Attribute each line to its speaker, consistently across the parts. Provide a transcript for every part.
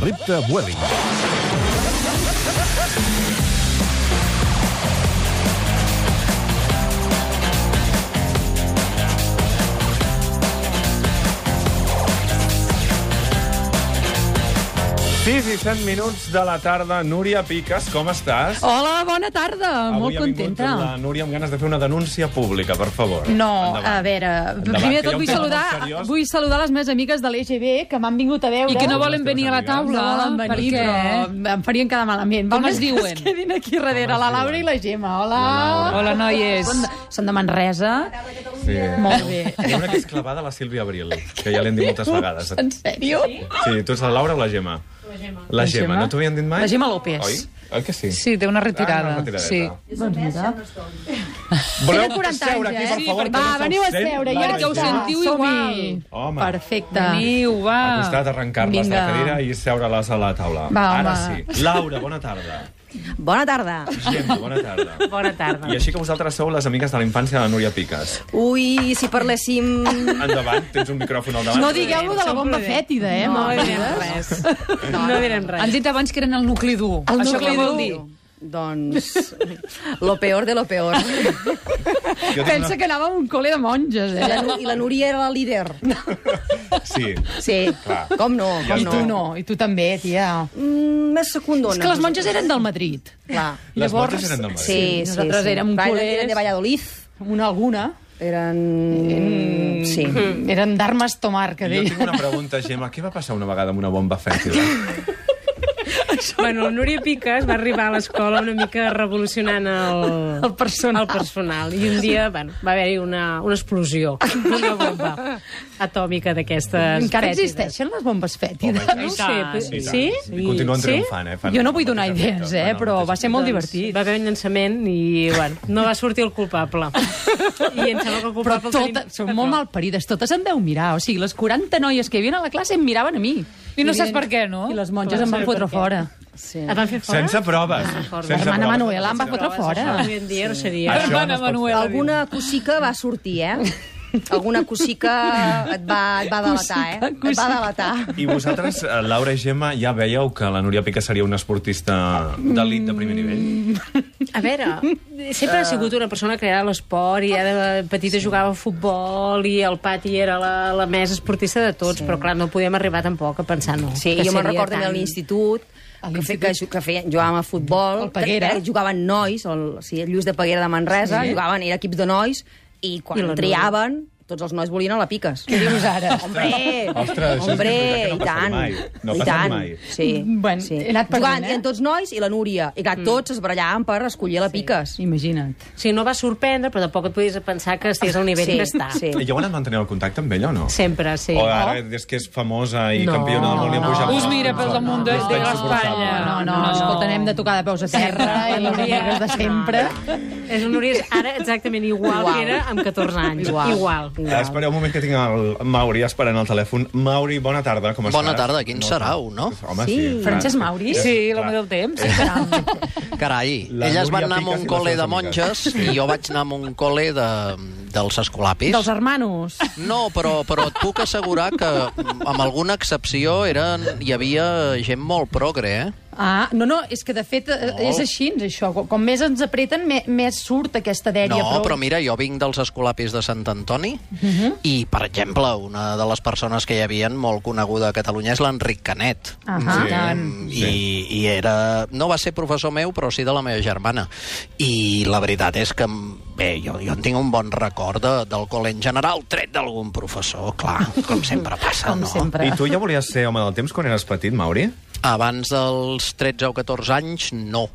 Speaker 1: Repte Vueling.
Speaker 2: Sis i 7 minuts de la tarda. Núria Piques, com estàs?
Speaker 3: Hola, bona tarda. Molt
Speaker 2: ha vingut
Speaker 3: contenta.
Speaker 2: la Núria amb ganes de fer una denúncia pública, per favor.
Speaker 3: No,
Speaker 2: Endavant.
Speaker 3: a veure,
Speaker 2: Endavant, que
Speaker 3: primer de
Speaker 2: hi ha
Speaker 3: tot
Speaker 2: un
Speaker 3: vull
Speaker 2: tema
Speaker 3: saludar,
Speaker 2: molt seriós.
Speaker 3: vull saludar les meves amigues de l'EGB que m'han vingut a veure.
Speaker 4: I que no
Speaker 2: vol-
Speaker 4: volen venir a la
Speaker 3: No
Speaker 4: taula.
Speaker 3: volen venir,
Speaker 4: perquè-
Speaker 3: però em farien quedar malament.
Speaker 4: Com
Speaker 3: Val
Speaker 4: es
Speaker 3: més que
Speaker 4: diuen?
Speaker 3: Es quedin aquí darrere, la Laura i la Gemma. Hola.
Speaker 4: Hola, noies.
Speaker 3: Són de, són de Manresa.
Speaker 2: Sí.
Speaker 3: Molt bé.
Speaker 2: Hi ha una que és clavada a la Sílvia Abril, que ja l'hem dit moltes vegades.
Speaker 3: En sèrio?
Speaker 2: Sí, tu ets la Laura o la Gemma? La Gemma. La Gemma, no t'ho havien dit mai?
Speaker 3: La Gemma López.
Speaker 2: Oi? Oi que sí?
Speaker 4: Sí, té una
Speaker 2: Ah,
Speaker 4: retirada.
Speaker 2: una retiradeta.
Speaker 4: sí.
Speaker 3: Doncs mira.
Speaker 2: Voleu
Speaker 3: Tenen 40
Speaker 2: seure
Speaker 3: anys,
Speaker 2: aquí,
Speaker 3: eh?
Speaker 2: per
Speaker 3: Sí,
Speaker 2: favor?
Speaker 3: Va, veniu a seure. Ja
Speaker 4: perquè ho
Speaker 3: està.
Speaker 4: sentiu
Speaker 3: Som-hi.
Speaker 4: igual.
Speaker 2: Home.
Speaker 3: Perfecte.
Speaker 4: Veniu,
Speaker 2: Ah. Al costat,
Speaker 4: va.
Speaker 2: arrencar-les de la
Speaker 3: Vinga.
Speaker 2: cadira i seure-les a la taula.
Speaker 3: Va,
Speaker 2: Ara
Speaker 3: home.
Speaker 2: sí. Laura, bona tarda.
Speaker 5: Bona tarda.
Speaker 2: Gemma, bona tarda.
Speaker 5: Bona tarda.
Speaker 2: I així que vosaltres sou les amigues de la infància de la Núria Piques.
Speaker 5: Ui, si parléssim...
Speaker 2: Endavant, tens un micròfon al davant.
Speaker 3: No digueu-lo de la bomba fètida, eh?
Speaker 5: No
Speaker 3: mare
Speaker 5: direm
Speaker 3: meva.
Speaker 5: res. No, direm res.
Speaker 4: Han dit abans que eren el nucli dur.
Speaker 3: El
Speaker 4: Això
Speaker 3: nucli
Speaker 4: què vol
Speaker 3: dur.
Speaker 4: dir?
Speaker 5: Doncs, lo peor de lo peor.
Speaker 2: Jo tinc
Speaker 3: Pensa que anava a un col·le de monges,
Speaker 5: I
Speaker 3: eh?
Speaker 5: la, Nu- i la Núria era la líder.
Speaker 2: Sí.
Speaker 5: Sí,
Speaker 2: Clar.
Speaker 5: com no,
Speaker 2: Ja
Speaker 5: com
Speaker 2: està.
Speaker 3: I
Speaker 5: no.
Speaker 3: tu no, i tu també, tia.
Speaker 5: Mm, més secundona.
Speaker 3: És que les monges eren del Madrid.
Speaker 5: Clar.
Speaker 2: Les
Speaker 3: Llavors-
Speaker 2: monges eren del Madrid.
Speaker 5: Sí, sí,
Speaker 3: nosaltres
Speaker 5: sí.
Speaker 3: érem
Speaker 5: Clar, eren-
Speaker 3: culers.
Speaker 5: Eren de Valladolid.
Speaker 3: Una alguna.
Speaker 5: Eren... Sí.
Speaker 3: Mm. Eren d'armes tomar, que
Speaker 2: Jo tinc
Speaker 3: deia.
Speaker 2: una pregunta, Gemma. Què va passar una vegada amb una bomba fètida?
Speaker 6: Bueno, el Núria Piques va arribar a l'escola una mica revolucionant el,
Speaker 3: El personal.
Speaker 6: el personal. I un dia bueno, va haver-hi una, una explosió, una bomba atòmica d'aquestes
Speaker 3: Encara
Speaker 6: fètides.
Speaker 3: existeixen les bombes fètides?
Speaker 6: No ho sé,
Speaker 4: tant,
Speaker 2: Ah,
Speaker 6: però-
Speaker 2: I tant.
Speaker 6: sí?
Speaker 2: I continuen
Speaker 6: Sí?
Speaker 2: triomfant, eh? Fan
Speaker 3: Jo no vull donar
Speaker 2: fan
Speaker 3: idees,
Speaker 2: efecte.
Speaker 3: eh,
Speaker 2: Fan
Speaker 3: però
Speaker 2: el
Speaker 3: va
Speaker 2: mateix
Speaker 3: ser molt
Speaker 6: Doncs
Speaker 3: divertit.
Speaker 6: Va haver un llançament i, bueno, no va sortir el culpable. I em sembla que el
Speaker 3: Però
Speaker 6: culpable el tenim...
Speaker 3: totes, són molt malparides, totes em deu mirar. O sigui, les 40 noies que hi havia a la classe em miraven a mi.
Speaker 4: I no
Speaker 3: I
Speaker 4: saps
Speaker 3: bien-
Speaker 4: per què, no?
Speaker 3: I les monges em van fotre fora.
Speaker 5: sí.
Speaker 6: Et van fer fora?
Speaker 2: Sense proves.
Speaker 3: La
Speaker 2: Sense
Speaker 3: hermana
Speaker 2: proves.
Speaker 3: Manuela em va fotre fora.
Speaker 6: Avui en dia no seria...
Speaker 2: Això
Speaker 4: Hermana
Speaker 2: no es pot
Speaker 4: Manuela.
Speaker 5: Alguna cosica va sortir, eh? Alguna cosica et va, et va delatar, eh? Et va delatar.
Speaker 2: I vosaltres, eh, Laura i Gemma, ja veieu que la Núria Pica seria una esportista d'elit de primer nivell?
Speaker 6: A veure, sempre
Speaker 5: Eh.
Speaker 6: ha sigut una persona que era a l'esport i ja de petita sí. jugava a futbol i el pati era la, la més esportista de tots, sí. però clar, no podíem arribar tampoc a pensar no.
Speaker 5: Sí,
Speaker 6: que
Speaker 5: jo me'n
Speaker 6: seria
Speaker 5: recordo també a l'institut, que, fe- que, ju- que feien, jugàvem a futbol,
Speaker 3: El Peguera.
Speaker 5: que- que jugaven nois, el, sí, el Lluís de Peguera de Manresa, sí. jugaven, era equips de nois, i quan
Speaker 6: I
Speaker 5: I
Speaker 6: la
Speaker 5: triaven, tots els nois volien a la piques.
Speaker 3: Què dius ara?
Speaker 5: Hombre,
Speaker 2: Ostres, això és
Speaker 5: hombre,
Speaker 2: veritat que no ha passat
Speaker 5: i tant.
Speaker 2: mai. No ha
Speaker 5: i
Speaker 2: passat
Speaker 5: tant.
Speaker 2: mai.
Speaker 5: Sí,
Speaker 3: Bueno,
Speaker 5: sí.
Speaker 3: he anat perdent,
Speaker 5: Jugaven,
Speaker 3: eh?
Speaker 5: eren tots nois i la Núria, i clar, tots es barallaven per escollir la piques.
Speaker 3: Imagina't.
Speaker 6: O sigui, no va sorprendre, però tampoc et podies pensar que estigués al nivell
Speaker 5: Sí,
Speaker 6: que està.
Speaker 5: sí.
Speaker 2: I ja van mantenir el contacte amb ella o no?
Speaker 6: Sempre, Mm. sí.
Speaker 2: O ara, des que és famosa i campiona del món, li han pujat... Doncs
Speaker 4: Us mira pel damunt de,
Speaker 2: Des
Speaker 4: de
Speaker 2: d'insuportable.
Speaker 4: l'espatlla.
Speaker 3: No, no, no, escolta, anem de tocar de peus a terra i les amigues de sempre.
Speaker 6: És un Núria ara exactament igual,
Speaker 5: Igual.
Speaker 6: que era amb 14 anys.
Speaker 5: Igual.
Speaker 6: igual.
Speaker 2: Ah, Espereu un moment que tinc el Mauri esperant el telèfon. Mauri, bona tarda, com estàs?
Speaker 7: Bona tarda, quin sarau, no?
Speaker 2: Home, sí. sí.
Speaker 3: Francesc Mauri?
Speaker 4: Sí, l'home del temps.
Speaker 7: Carai,
Speaker 2: La
Speaker 7: elles van
Speaker 2: Núria
Speaker 7: anar a
Speaker 2: Picas i
Speaker 7: un
Speaker 2: les
Speaker 7: col·le
Speaker 2: seves
Speaker 7: de
Speaker 2: amigues.
Speaker 7: monges i jo vaig anar a un col·le de, dels escolapis.
Speaker 3: Dels hermanos.
Speaker 7: No, però, però et puc assegurar que, mm, amb alguna excepció, eren, hi havia gent molt progre, eh?
Speaker 3: Ah, no, no, és que de fet eh, és així, això. Com- Com més ens apreten, me- més surt aquesta dèria.
Speaker 7: No, però mira, jo vinc dels escolapis de Sant Antoni
Speaker 3: Mhm.
Speaker 7: i, per exemple, una de les persones que hi havia molt coneguda a Catalunya és l'Enric Canet.
Speaker 3: Ahà.
Speaker 2: Sí.
Speaker 3: Tant.
Speaker 7: I, i era, no va ser professor meu, però sí de la meva germana. I la veritat és que, bé, jo, jo en tinc un bon record de, del col·le en general, tret d'algun professor, clar, com sempre passa,
Speaker 3: Com
Speaker 7: no?
Speaker 3: sempre.
Speaker 2: I tu ja volies ser home del temps quan eres petit, Mauri?
Speaker 7: Abans dels 13 o 14 anys, no.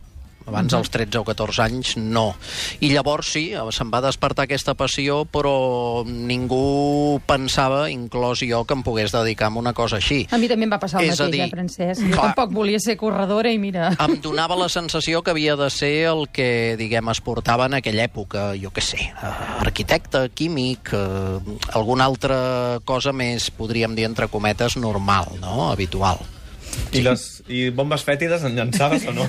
Speaker 7: Abans
Speaker 3: Mhm.
Speaker 7: dels 13 o 14 anys, no. I llavors sí, se'm va despertar aquesta passió, però ningú pensava, inclòs jo, que em pogués dedicar a una cosa així.
Speaker 3: A mi també em va passar el
Speaker 7: És a
Speaker 3: mateix,
Speaker 7: dir,
Speaker 3: eh, Francesc? Jo
Speaker 7: clar.
Speaker 3: tampoc volia ser corredora i mira...
Speaker 7: em donava la sensació que havia de ser el que, diguem, es portava en aquella època, jo què sé, eh, arquitecte, químic, eh, alguna altra cosa més, podríem dir, entre cometes, normal, no?, habitual.
Speaker 2: I, les, I bombes fètides en llançaves o no?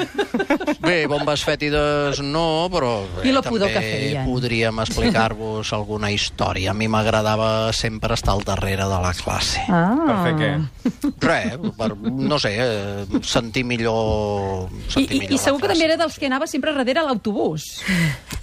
Speaker 7: Bé, bombes fètides no, però bé,
Speaker 3: I la pudor que feien.
Speaker 7: podríem explicar-vos alguna història. A mi m'agradava sempre estar al darrere de la classe. Ah.
Speaker 2: Per fer què?
Speaker 7: Res, per, no sé, eh, sentir millor...
Speaker 3: I,
Speaker 7: Sentir
Speaker 3: i,
Speaker 7: millor
Speaker 3: I
Speaker 7: la
Speaker 3: segur que
Speaker 7: classe.
Speaker 3: també era dels que anava sempre darrere l'autobús.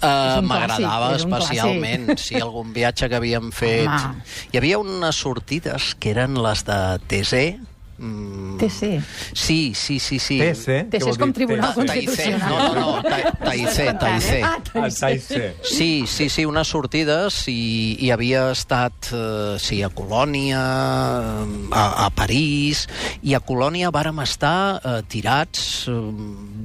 Speaker 7: Uh,
Speaker 3: un
Speaker 7: M'agradava
Speaker 3: clàssic, era un
Speaker 7: especialment, sí, algun viatge que havíem fet.
Speaker 3: Home.
Speaker 7: Hi havia unes sortides que eren les de TC. Mm,
Speaker 3: TC.
Speaker 7: Sí, sí, sí. sí.
Speaker 2: TC?
Speaker 3: TC és com Tribunal
Speaker 7: Ta- Taizé, no,
Speaker 3: Constitucional.
Speaker 7: no, no, Ta- Taizé,
Speaker 3: eh?
Speaker 7: Taizé.
Speaker 3: Ah,
Speaker 2: El TC.
Speaker 7: Sí, sí, sí, unes sortides i, i havia estat eh, sí, a Colònia, eh, a, a París, i a Colònia vàrem estar eh, tirats eh,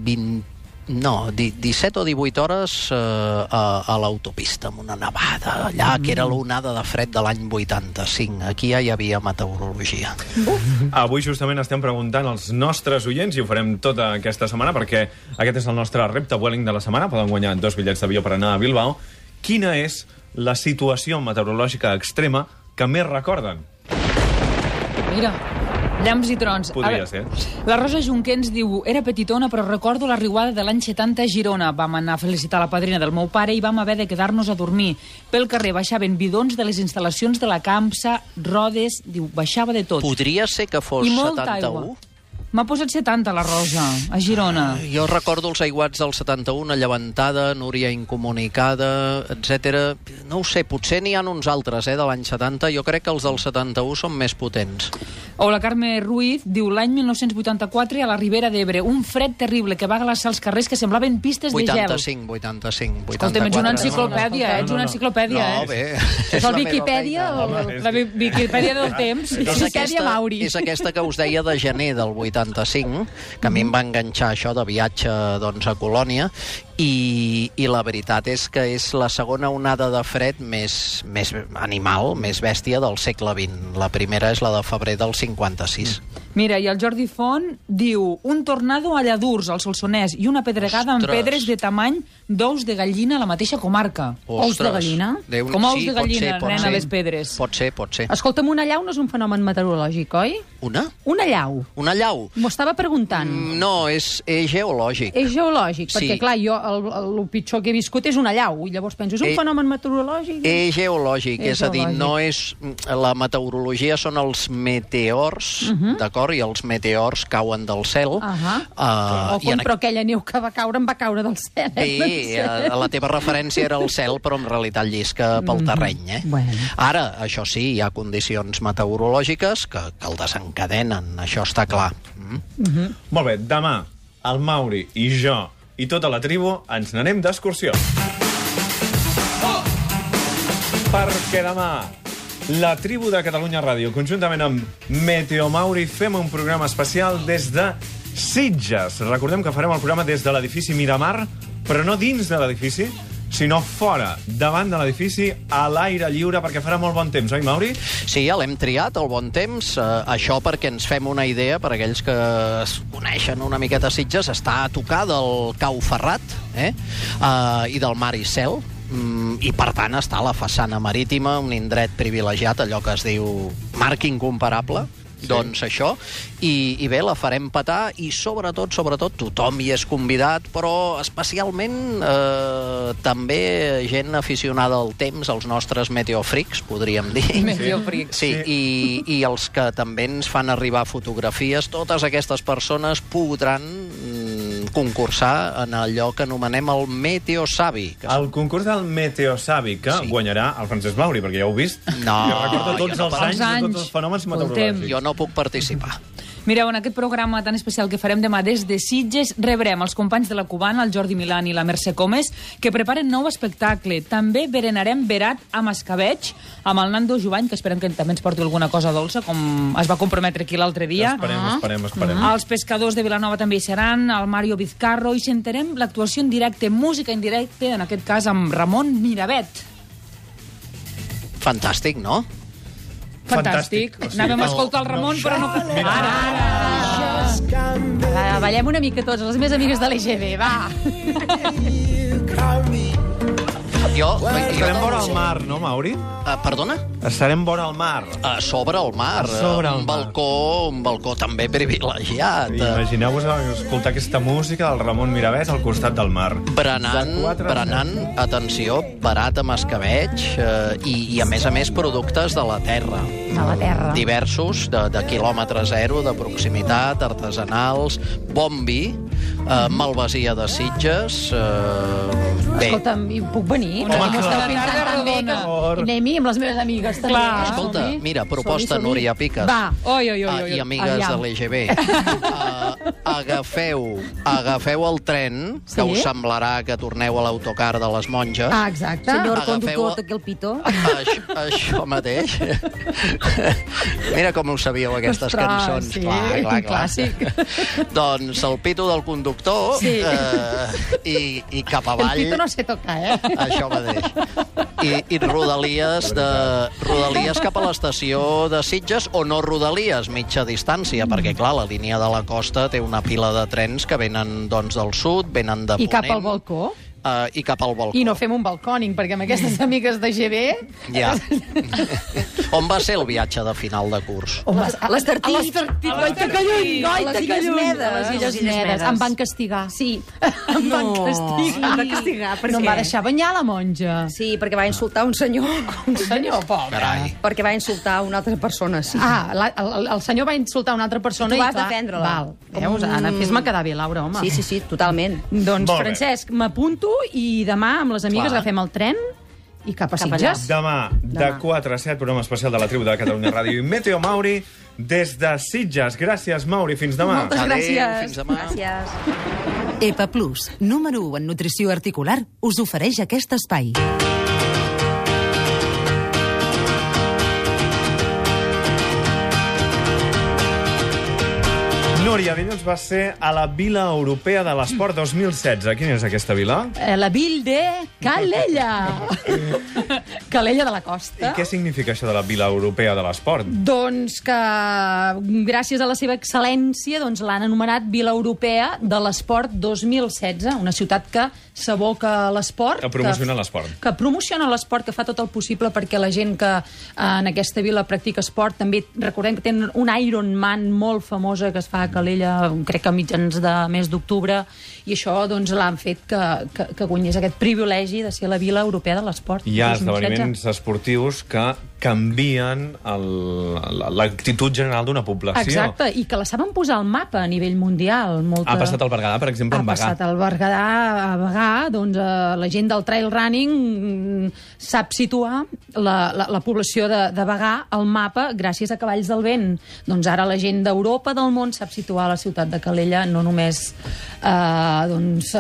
Speaker 7: 20, no, di- 17 o 18 hores eh, a, a l'autopista amb una nevada allà, que
Speaker 4: Mm.
Speaker 7: era l'onada de fred de l'any 85. Aquí ja hi havia meteorologia.
Speaker 2: Avui justament estem preguntant als nostres oients i ho farem tota aquesta setmana perquè aquest és el nostre repte Welling de la setmana. Poden guanyar dos bitllets d'avió per anar a Bilbao. Quina és la situació meteorològica extrema que més recorden?
Speaker 4: Mira, llamps i trons.
Speaker 2: Podria
Speaker 4: A veure,
Speaker 2: ser.
Speaker 4: La Rosa Junquer ens diu, era petitona però recordo la riuada de l'any 70 a Girona. Vam anar a felicitar la padrina del meu pare i vam haver de quedar-nos a dormir. Pel carrer baixaven bidons de les instal·lacions de la Camsa, rodes, diu, baixava de tot.
Speaker 7: Podria ser que fos
Speaker 4: I molta
Speaker 7: 71?
Speaker 4: aigua. M'ha posat 70 la Rosa, a Girona.
Speaker 7: Jo recordo els aiguats del 71, Llevantada, Núria Incomunicada, etc. No ho sé, potser n'hi ha uns altres, eh, de l'any 70. Jo crec que els del 71 són més potents.
Speaker 4: O la Carme Ruiz diu l'any 1984 a la Ribera d'Ebre, un fred terrible que va glaçar els carrers que semblaven pistes de gel.
Speaker 7: 85, 85, 84...
Speaker 4: Escolta'm, ets una enciclopèdia,
Speaker 3: No, no,
Speaker 4: ets una enciclopèdia,
Speaker 7: No,
Speaker 4: eh?
Speaker 7: bé.
Speaker 3: És
Speaker 7: la
Speaker 3: el
Speaker 7: meva
Speaker 3: Viquipèdia
Speaker 7: feina. Ah.
Speaker 3: o...
Speaker 4: La vi- Viquipèdia del temps.
Speaker 3: És
Speaker 7: És
Speaker 3: Viquipèdia
Speaker 7: aquesta,
Speaker 3: Mauri.
Speaker 7: és aquesta que us deia de gener del 85, que a mi em va enganxar això de viatge doncs, a Colònia, i, i la veritat és que és la segona onada de fred més, més animal, més bèstia del segle XX. La primera és la de febrer del 56.
Speaker 4: Mira, i el Jordi Font diu un tornado a Lladurs, al Solsonès, i una pedregada amb
Speaker 7: Ostres.
Speaker 4: pedres de tamany d'ous de gallina a la mateixa comarca.
Speaker 3: Ous de gallina?
Speaker 7: Déu-
Speaker 4: Com ous
Speaker 7: sí,
Speaker 4: de
Speaker 7: pot
Speaker 4: gallina,
Speaker 7: ser, pot
Speaker 4: nena,
Speaker 7: ser.
Speaker 4: les pedres.
Speaker 7: Pot ser, pot ser.
Speaker 3: Escolta'm, una llau no és un fenomen meteorològic, oi?
Speaker 7: Una?
Speaker 3: Una llau.
Speaker 7: Una llau?
Speaker 3: M'ho estava preguntant.
Speaker 7: Mm, No, és, és geològic.
Speaker 3: És geològic,
Speaker 7: Sí.
Speaker 3: perquè, clar, jo el, el, el pitjor que he viscut és una llau, i llavors penso, és un
Speaker 7: Eh,
Speaker 3: fenomen meteorològic?
Speaker 7: És geològic,
Speaker 3: És
Speaker 7: és, a dir,
Speaker 3: geològic.
Speaker 7: no és... mm, La meteorologia són els meteors, d'acord? I els meteors cauen del cel. Uh
Speaker 3: Mhm. Ahà.
Speaker 7: uh,
Speaker 3: o com, però aquella neu que va caure em va caure del cel. eh? No
Speaker 7: Bé,
Speaker 3: sé.
Speaker 7: eh, la teva referència era el cel, però en realitat llisca pel terreny. Eh?
Speaker 3: Mhm. Bueno.
Speaker 7: Ara, això sí, hi ha condicions meteorològiques que, que el desencadenen, això està clar. Mm?
Speaker 2: Molt bé, demà el Mauri i jo i tota la tribu ens n'anem d'excursió. Perquè demà la tribu de Catalunya Ràdio, conjuntament amb Meteo Mauri, fem un programa especial des de Sitges. Recordem que farem el programa des de l'edifici Miramar, però no dins de l'edifici, sinó fora, davant de l'edifici, a l'aire lliure, perquè farà molt bon temps, oi, Mauri?
Speaker 7: Sí, ja l'hem triat, el bon temps. Eh, això perquè ens fem una idea, per aquells que es coneixen una miqueta Sitges, està a tocar del Cau Ferrat eh? Eh, i del Mar i Cel, mm, i per tant està a la façana marítima, un indret privilegiat, allò que es diu marc incomparable, sí. doncs això, i, i bé, la farem petar, i sobretot, sobretot, tothom hi és convidat, però especialment eh, també gent aficionada al temps, els nostres meteofrics, podríem dir.
Speaker 4: Meteofric.
Speaker 7: Sí, i, i els que també ens fan arribar fotografies, totes aquestes persones podran mm, concursar en allò que anomenem el meteosavi. Que...
Speaker 2: El concurs del Meteosavi, que sí. guanyarà el Francesc Mauri, perquè ja ho heu vist.
Speaker 7: No,
Speaker 2: jo recordo tots
Speaker 7: jo no
Speaker 2: els
Speaker 7: puc-
Speaker 2: anys, de tots els fenòmens
Speaker 4: Escoltem,
Speaker 2: meteorològics.
Speaker 7: Jo no puc participar.
Speaker 4: Mireu, en aquest programa tan especial que farem demà des de Sitges, rebrem els companys de la Cubana, el Jordi Milan i la Mercè Comes, que preparen nou espectacle. També berenarem verat amb escabeig, amb el Nando Jovany, que esperem que també ens porti alguna cosa dolça, com es va comprometre aquí l'altre dia.
Speaker 3: Ah.
Speaker 2: Esperem, esperem, esperem.
Speaker 3: Mm-hmm.
Speaker 4: Mm. Els pescadors de Vilanova també hi seran, el Mario Vizcarro, i sentirem l'actuació en directe, música en directe, en aquest cas amb Ramon Miravet.
Speaker 7: Fantàstic, no?
Speaker 2: Fantàstic.
Speaker 4: Fantàstic.
Speaker 2: O sigui,
Speaker 4: Anàvem
Speaker 2: no-
Speaker 4: a escoltar el Ramon, però no... Ara, ara.
Speaker 3: Va, ballem una mica tots, les meves amigues de l'EGB, va.
Speaker 7: Jo Jo...
Speaker 2: Estarem
Speaker 7: jo
Speaker 2: vora al mar, no, Mauri?
Speaker 7: Ah, perdona?
Speaker 2: Estarem vora al mar.
Speaker 7: A sobre el mar.
Speaker 2: A sobre el
Speaker 7: un
Speaker 2: mar.
Speaker 7: balcó, un balcó també privilegiat.
Speaker 2: Imagineu-vos escoltar aquesta música del Ramon Mirabès al costat del mar.
Speaker 7: Berenant,
Speaker 2: De quatre-
Speaker 7: berenant, atenció, barat amb escabeig eh, i, i, a més a més, productes de la terra.
Speaker 3: A la terra. Eh.
Speaker 7: diversos, de, de quilòmetre zero, de proximitat, artesanals, bon vi,
Speaker 3: Mm-hmm.
Speaker 7: eh, malvasia de Sitges... Eh, bé,
Speaker 3: Escolta'm, i puc venir?
Speaker 4: Home,
Speaker 3: Com esteu
Speaker 4: clar.
Speaker 3: pintant
Speaker 4: Tarda
Speaker 3: tan bé que-
Speaker 2: redona.
Speaker 3: Anem-hi amb les meves amigues, també.
Speaker 4: Clar.
Speaker 3: eh?
Speaker 7: escolta,
Speaker 3: Som-hi.
Speaker 7: mira, proposta
Speaker 3: Som-hi, som-hi.
Speaker 7: Núria Piques.
Speaker 3: Va.
Speaker 4: Oi, oi, oi,
Speaker 7: Ah,
Speaker 4: oi.
Speaker 7: i
Speaker 4: oi.
Speaker 7: amigues
Speaker 3: Aviam.
Speaker 7: de l'EGB. Uh, Eh, agafeu, agafeu el tren, que
Speaker 3: Sí.
Speaker 7: us semblarà que torneu a l'autocar de les monges.
Speaker 3: Ah, exacte.
Speaker 5: Senyor
Speaker 7: Agafeu-
Speaker 5: conductor, toqui el pitó.
Speaker 7: Això, això mateix. Mira com ho sabíeu, aquestes
Speaker 3: Ostres,
Speaker 7: cançons.
Speaker 3: sí, un
Speaker 7: clàssic. doncs el pito del conductor
Speaker 3: Sí.
Speaker 7: eh, i, i cap
Speaker 3: El
Speaker 7: avall...
Speaker 3: pito no se toca, eh?
Speaker 7: Això mateix. I, i rodalies, de, rodalies cap a l'estació de Sitges o no rodalies, mitja distància,
Speaker 3: Mm.
Speaker 7: perquè, clar, la línia de la costa té una pila de trens que venen doncs, del sud, venen de
Speaker 3: I
Speaker 7: Ponent...
Speaker 3: cap al balcó.
Speaker 7: Uh, I cap al balcó.
Speaker 3: I no fem un balcòning, perquè amb aquestes amigues de GB...
Speaker 7: Ja. On va ser el viatge de final de curs?
Speaker 3: Oh,
Speaker 5: A l'Estartit.
Speaker 3: L'estartit. Goita que lluny,
Speaker 5: A
Speaker 3: goita
Speaker 5: les
Speaker 3: que
Speaker 5: Illes
Speaker 3: lluny.
Speaker 5: Medes.
Speaker 3: A les Illes
Speaker 6: Illes
Speaker 3: Medes.
Speaker 6: Medes.
Speaker 3: Em van castigar. Sí. Em van
Speaker 6: No.
Speaker 3: castigar.
Speaker 6: Em va castigar, per
Speaker 3: No em
Speaker 6: què?
Speaker 3: va deixar banyar la monja.
Speaker 5: Sí, perquè va insultar un senyor.
Speaker 3: Senyor, pobre.
Speaker 7: Carai.
Speaker 5: Perquè va insultar una altra persona, sí.
Speaker 3: Ah, la, el, el senyor va insultar una altra persona
Speaker 5: Tu
Speaker 3: i
Speaker 5: vas
Speaker 3: clar,
Speaker 5: defendre-la.
Speaker 3: Val.
Speaker 5: Com
Speaker 3: Veus,
Speaker 5: un-
Speaker 3: Anna, fes-me quedar bé, Laura, home.
Speaker 5: Sí, sí, sí, totalment.
Speaker 2: Molt
Speaker 3: Doncs,
Speaker 2: bé.
Speaker 3: Francesc, m'apunto i demà amb les amigues
Speaker 7: Clar.
Speaker 3: agafem el tren i cap a
Speaker 5: Cap allà.
Speaker 3: Sitges.
Speaker 2: Demà, de 4 a 7, programa especial de la tribu de Catalunya Ràdio i Meteo Mauri des de Sitges. Gràcies, Mauri. Fins demà.
Speaker 3: Moltes gràcies.
Speaker 7: Adéu, fins demà.
Speaker 5: Gràcies.
Speaker 1: EPA Plus, número 1 en nutrició articular, us ofereix aquest espai.
Speaker 2: Núria, dilluns va ser a la Vila Europea de l'Esport 2016. Quina és aquesta vila?
Speaker 3: Eh, La vil de Calella. Calella de la Costa.
Speaker 2: I què significa això de la Vila Europea de l'Esport?
Speaker 3: Doncs que, gràcies a la seva excel·lència, doncs l'han anomenat Vila Europea de l'Esport 2016, una ciutat que s'aboca a l'esport.
Speaker 2: Que promociona l'esport.
Speaker 3: Que promociona l'esport, que fa tot el possible perquè la gent que eh, en aquesta vila practica esport, també recordem que tenen un Ironman molt famosa que es fa a Calella, crec que a mitjans de mes d'octubre, i això doncs l'han fet que, que, que guanyés aquest privilegi de ser la Vila Europea de l'Esport.
Speaker 2: Hi ha
Speaker 3: 2016.
Speaker 2: esdeveniments esportius que canvien el- l'actitud general d'una població.
Speaker 3: Exacte, i que la saben posar al mapa a nivell mundial. Molta...
Speaker 2: Ha passat al Berguedà, per exemple,
Speaker 3: Ha
Speaker 2: en Bagà.
Speaker 3: passat al Berguedà, a Bagà, doncs eh, la gent del trail running mm, sap situar la, la, la població de, de Bagà al mapa gràcies a Cavalls del Vent. Doncs ara la gent d'Europa, del món, sap situar la ciutat de Calella no només eh, doncs,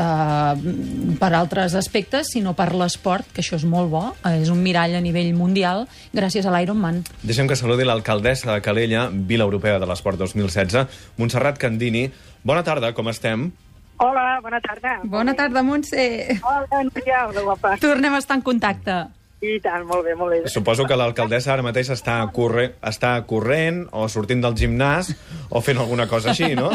Speaker 3: eh, per altres aspectes, sinó per l'esport, que això és molt bo, eh, és un mirall a nivell mundial gràcies a l'Ironman.
Speaker 2: Deixem que saludi l'alcaldessa de Calella, Vila Europea de l'Esport 2016, Montserrat Candini. Bona tarda, com estem?
Speaker 8: Hola, bona tarda.
Speaker 3: Bona tarda, Montse.
Speaker 8: Hola, Núria, hola, guapa.
Speaker 3: Tornem a estar en contacte.
Speaker 8: I tant, molt bé, molt bé.
Speaker 2: Suposo que l'alcaldessa ara mateix està, corre... està corrent o sortint del gimnàs o fent alguna cosa així, no?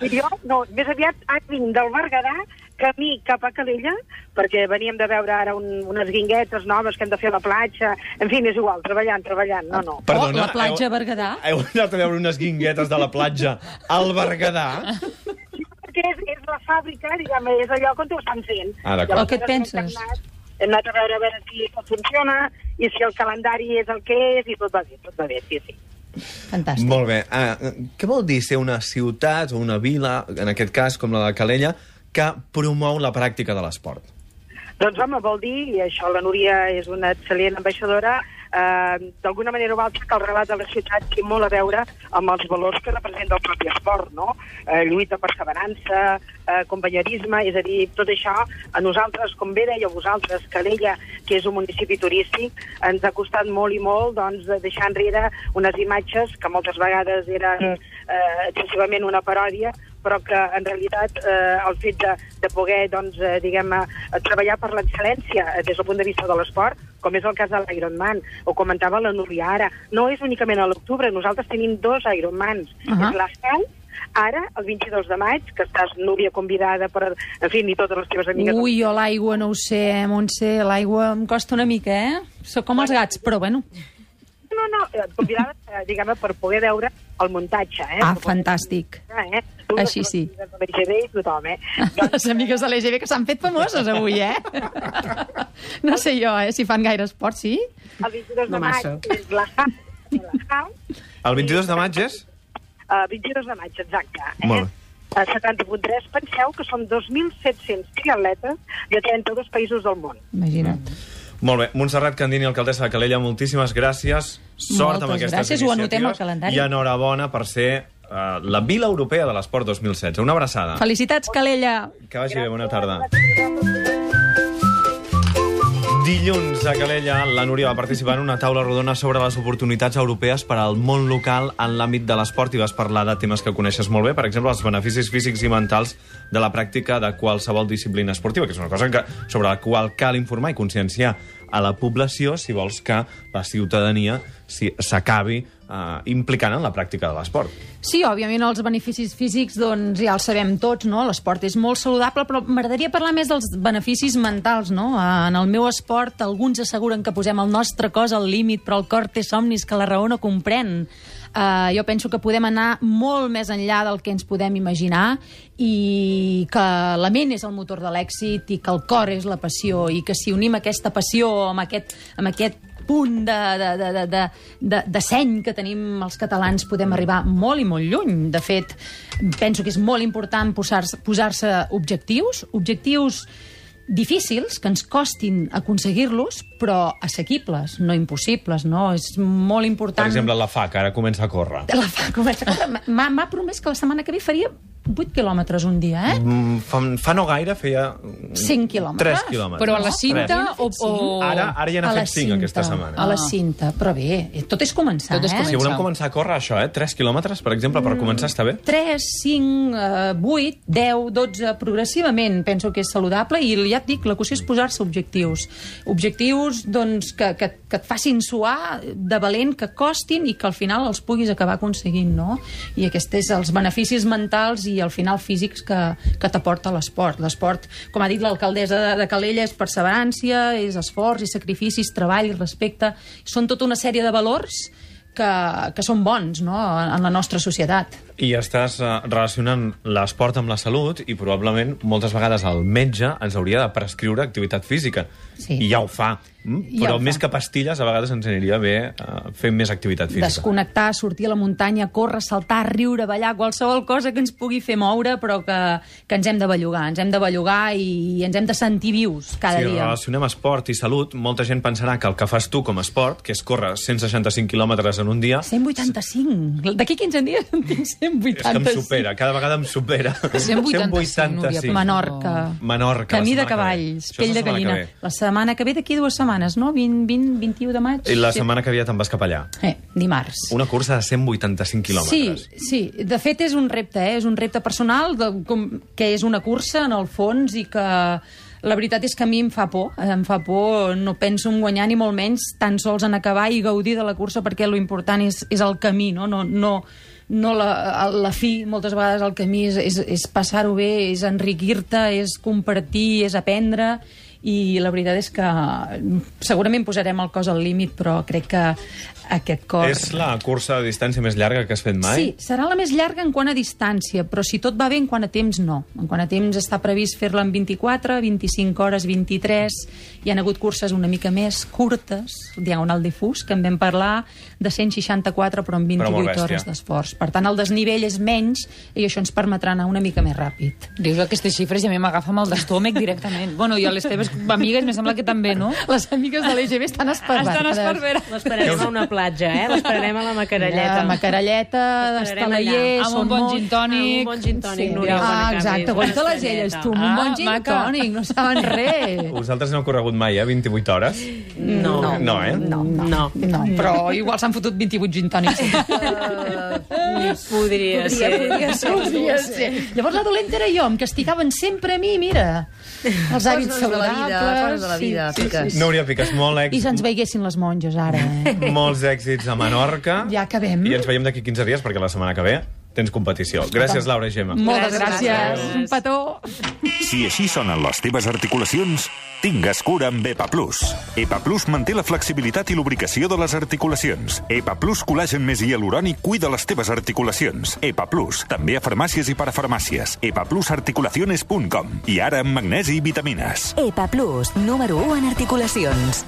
Speaker 8: I jo, no, més aviat ara vinc del Berguedà, camí cap a Calella, perquè veníem de veure ara un, unes guinguetes noves que hem de fer a la platja. En fi, és igual, treballant, treballant. No, no.
Speaker 3: Oh, la platja Berguedà.
Speaker 2: Heu anat a veure unes guinguetes de la platja al Berguedà?
Speaker 8: Perquè és, és la fàbrica, diguem, és allò on ho estan fent.
Speaker 2: Ah, d'acord.
Speaker 3: El que et penses?
Speaker 8: Hem anat, hem anat a veure, a veure si tot funciona i si el calendari és el que és i tot va bé, tot va bé, sí, sí.
Speaker 3: Fantàstic.
Speaker 2: Molt bé. Ah, què vol dir ser una ciutat o una vila, en aquest cas com la de Calella, que promou la pràctica de l'esport?
Speaker 8: Doncs home, vol dir, i això la Núria és una excel·lent ambaixadora, eh, d'alguna manera o altra que el relat de la ciutat té molt a veure amb els valors que representa el propi esport, no? Eh, lluita, perseverança, eh, companyerisme, és a dir, tot això a nosaltres, com bé dèieu vosaltres, Calella, que és un municipi turístic, ens ha costat molt i molt doncs, de deixar enrere unes imatges que moltes vegades eren eh, excessivament una paròdia, però que en realitat eh, el fet de, de poder doncs, eh, diguem, eh, treballar per l'excel·lència eh, des del punt de vista de l'esport, com és el cas de l'Ironman, o comentava la Núria ara, no és únicament a l'octubre, nosaltres tenim dos Ironmans, uh
Speaker 3: Ahà.
Speaker 8: -huh. és l'Escau Ara, el 22 de maig, que estàs, Núria, convidada per, en fi, ni totes les teves amigues...
Speaker 3: Ui, jo l'aigua no ho sé, eh, Montse, l'aigua em costa una mica, eh? Sóc com els gats, però bueno.
Speaker 8: Eh, No, no, eh, convidada, eh, diguem per poder veure el muntatge, eh?
Speaker 3: Ah,
Speaker 8: Per poder-
Speaker 3: fantàstic.
Speaker 8: Eh? Tu, les
Speaker 3: Així
Speaker 8: teves
Speaker 3: sí.
Speaker 8: amigues de BGB i tothom, eh?
Speaker 3: Les amigues de l'EGB que s'han fet famoses avui, eh? No sé jo, eh, si fan gaire esport, sí?
Speaker 8: El 22 de
Speaker 6: No
Speaker 8: maig
Speaker 6: massa.
Speaker 8: és la House, la House,
Speaker 2: El 22 de maig és?
Speaker 8: eh, 22 de maig, exacte. Eh?
Speaker 2: Molt bé.
Speaker 8: Eh, 70.3, penseu que són 2.700 triatletes de 32 països del món.
Speaker 3: Imagina't.
Speaker 2: Molt bé. Montserrat Candini, alcaldessa de Calella, moltíssimes gràcies. Sort
Speaker 3: Moltes
Speaker 2: amb aquestes
Speaker 3: gràcies, ho
Speaker 2: iniciatives.
Speaker 3: anotem al calendari.
Speaker 2: I enhorabona per ser uh, la Vila Europea de l'Esport 2016. Una abraçada.
Speaker 3: Felicitats, Calella!
Speaker 2: Que vagi bé, bona tarda. Dilluns a Calella, la Núria va participar en una taula rodona sobre les oportunitats europees per al món local en l'àmbit de l'esport i vas parlar de temes que coneixes molt bé, per exemple, els beneficis físics i mentals de la pràctica de qualsevol disciplina esportiva, que és una cosa que, sobre la qual cal informar i conscienciar a la població si vols que la ciutadania s'hi- s'acabi eh, implicant en la pràctica de l'esport.
Speaker 3: Sí, òbviament els beneficis físics doncs, ja els sabem tots, no? l'esport és molt saludable, però m'agradaria parlar més dels beneficis mentals. No? Ah, En el meu esport alguns asseguren que posem el nostre cos al límit, però el cor té somnis que la raó no comprèn. Uh, jo penso que podem anar molt més enllà del que ens podem imaginar i que la ment és el motor de l'èxit i que el cor és la passió i que si unim aquesta passió amb aquest, amb aquest punt de, de, de, de, de, de, de seny que tenim els catalans podem arribar molt i molt lluny. De fet, penso que és molt important posar-se posar objectius, objectius difícils, que ens costin aconseguir-los, però assequibles, no impossibles, no? És molt
Speaker 2: Per
Speaker 3: important...
Speaker 2: exemple, la FA, que ara comença a córrer.
Speaker 3: la fa comença... M'ha m'ha promès que la setmana que ve faria 8 quilòmetres un dia, eh?
Speaker 2: Mm, Fa, fa no gaire feia...
Speaker 3: 5 quilòmetres.
Speaker 2: 3 quilòmetres.
Speaker 4: Però a la
Speaker 2: Tres.
Speaker 4: cinta o... o...
Speaker 2: Ara, ara ja n'ha
Speaker 3: A la
Speaker 2: fet 5 aquesta
Speaker 3: cinta,
Speaker 2: setmana.
Speaker 3: A la cinta, però bé, eh, tot és començar,
Speaker 4: Tot és
Speaker 3: eh? Mm.
Speaker 2: Si volem començar a córrer això, eh? 3 quilòmetres, per exemple, per començar està bé?
Speaker 3: 3, 5, eh, 8, 10, 12, progressivament penso que és saludable i ja et dic, la qüestió és posar-se objectius. Objectius doncs, que, que, que et facin suar de valent, que costin i que al final els puguis acabar aconseguint, no? I aquests és els beneficis mentals i al final físics que, que t'aporta l'esport. L'esport, com ha dit l'alcaldessa de, de Calella, és perseverància, és esforç, és sacrificis, treball, respecte... Són tota una sèrie de valors que, que són bons no? en en la nostra societat.
Speaker 2: I estàs eh, relacionant l'esport amb la salut i probablement moltes vegades el metge ens hauria de prescriure activitat física.
Speaker 3: Sí.
Speaker 2: I ja ho fa. Mm?
Speaker 3: Ja
Speaker 2: Però
Speaker 3: ho fa.
Speaker 2: més que pastilles, a vegades ens aniria bé eh, fer més activitat física.
Speaker 3: Desconnectar, sortir a la muntanya, córrer, saltar, riure, ballar, qualsevol cosa que ens pugui fer moure, però que, que ens hem de bellugar. Ens hem de bellugar i ens hem de sentir vius cada
Speaker 2: si
Speaker 3: dia.
Speaker 2: relacionem esport i salut, molta gent pensarà que el que fas tu com a esport, que és córrer 165 quilòmetres en un dia,
Speaker 3: 185. D'aquí 15 dies en tinc
Speaker 2: és que em
Speaker 3: 185.
Speaker 2: supera, cada vegada em supera.
Speaker 4: 185, Núria, per favor.
Speaker 3: Menorca.
Speaker 2: Menorca, la
Speaker 3: Camí de
Speaker 2: setmana que ve.
Speaker 3: cavalls,
Speaker 2: Això és la setmana
Speaker 3: pell de
Speaker 2: que
Speaker 3: gallina.
Speaker 2: ve.
Speaker 3: La setmana que ve, d'aquí dues setmanes, no? 20, 20, 21 de maig.
Speaker 2: I la setmana que ve ja te'n vas cap allà.
Speaker 3: Eh, dimarts.
Speaker 2: Una cursa de 185 quilòmetres.
Speaker 3: Sí, sí. De fet, és un repte, eh? és un repte personal, de, com, que és una cursa, en el fons, i que la veritat és que a mi em fa por. eh, Em fa por, no penso en guanyar ni molt menys, tan sols en acabar i gaudir de la cursa, perquè lo important és, és el camí, no? no, no no la, la fi, moltes vegades el camí és, és, és passar-ho bé, és enriquir-te, és compartir, és aprendre, i la veritat és que segurament posarem el cos al límit, però crec que aquest cor...
Speaker 2: És la cursa de distància més llarga que has fet mai?
Speaker 3: Sí, serà la més llarga en quant a distància, però si tot va bé en quant a temps, no. En quant a temps està previst fer-la en 24, 25 hores, 23. Hi han hagut curses una mica més curtes, diagonal difús, que en vam parlar, de 164, però amb
Speaker 2: Però molt
Speaker 3: 28
Speaker 2: bèstia.
Speaker 3: hores d'esforç. Per tant, el desnivell és menys i això ens permetrà anar una mica més ràpid.
Speaker 4: Dius aquestes xifres i a mi m'agafa mal d'estómac directament. Bueno, i a les teves amigues me sembla que també, no?
Speaker 3: Les amigues de l'EGB estan esperbades.
Speaker 4: Estan esperveres.
Speaker 6: L'esperarem a una platja, eh? L'esperarem a la macarelleta.
Speaker 3: Allà, Macarelleta,
Speaker 6: Estarem allà.
Speaker 3: d'estalayer,
Speaker 4: Amb un
Speaker 3: són
Speaker 4: bon
Speaker 3: molt-
Speaker 4: gin tònic.
Speaker 6: Amb un bon gin tònic, Núria.
Speaker 3: Ah,
Speaker 6: bona
Speaker 3: exacte,
Speaker 6: Carles.
Speaker 3: goig de les
Speaker 6: Estareta.
Speaker 3: elles, tu, amb un
Speaker 4: Ah,
Speaker 3: bon gin
Speaker 4: maca.
Speaker 3: tònic, no saben res.
Speaker 2: Vosaltres no heu corregut mai, eh? 28 hores?
Speaker 6: No.
Speaker 2: No, eh?
Speaker 3: No, no,
Speaker 6: No.
Speaker 3: no. Però igual s'han fotut 28 gin tònics.
Speaker 5: Uh,
Speaker 6: Podria, podria ser.
Speaker 5: podria ser.
Speaker 3: Podria ser. Llavors la dolenta era jo, em castigaven sempre a mi, mira. Els hàbits
Speaker 5: de la
Speaker 3: saludables.
Speaker 5: vida, coses de la vida, piques.
Speaker 2: Núria Piques, molt
Speaker 3: I
Speaker 2: èxit.
Speaker 3: se'ns veiessin les monges, ara. eh?
Speaker 2: Molts èxits a Menorca.
Speaker 3: Ja acabem.
Speaker 2: I ens veiem d'aquí 15 dies, perquè la setmana que ve tens competició. Gràcies, Laura i Gemma.
Speaker 3: Moltes
Speaker 6: Gràcies.
Speaker 3: gràcies. Un petó.
Speaker 9: Si així sonen les teves articulacions, tingues cura amb EPA Plus. EPA Plus manté la flexibilitat i lubricació de les articulacions. EPA Plus col·lagen més hialurònic cuida les teves articulacions. EPA Plus, també a farmàcies i parafarmàcies. epaplusarticulaciones.com i ara amb magnesi i vitamines.
Speaker 10: EPA Plus, número 1 en articulacions.